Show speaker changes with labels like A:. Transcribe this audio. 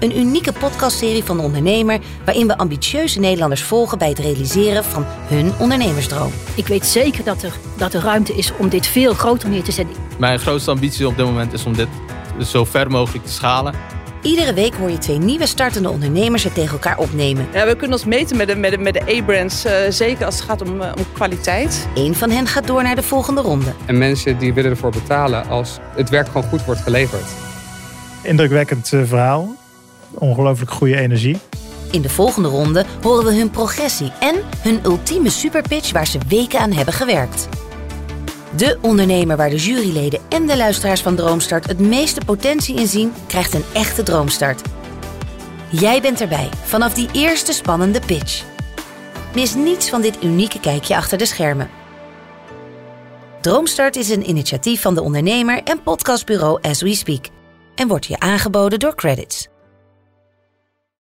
A: Een unieke podcastserie van de ondernemer waarin we ambitieuze Nederlanders volgen bij het realiseren van hun ondernemersdroom.
B: Ik weet zeker dat er, dat er ruimte is om dit veel groter neer te zetten.
C: Mijn grootste ambitie op dit moment is om dit zo ver mogelijk te schalen.
A: Iedere week hoor je twee nieuwe startende ondernemers het tegen elkaar opnemen.
D: Ja, we kunnen ons meten met de, met de, met de A-brands, eh, zeker als het gaat om, eh, om kwaliteit.
A: Eén van hen gaat door naar de volgende ronde.
E: En mensen die willen ervoor betalen als het werk gewoon goed wordt geleverd.
F: Indrukwekkend eh, verhaal. Ongelooflijk goede energie.
A: In de volgende ronde horen we hun progressie en hun ultieme superpitch waar ze weken aan hebben gewerkt. De ondernemer waar de juryleden en de luisteraars van Droomstart het meeste potentie in zien, krijgt een echte droomstart. Jij bent erbij vanaf die eerste spannende pitch. Mis niets van dit unieke kijkje achter de schermen. Droomstart is een initiatief van de ondernemer en podcastbureau As We Speak en wordt je aangeboden door Credits.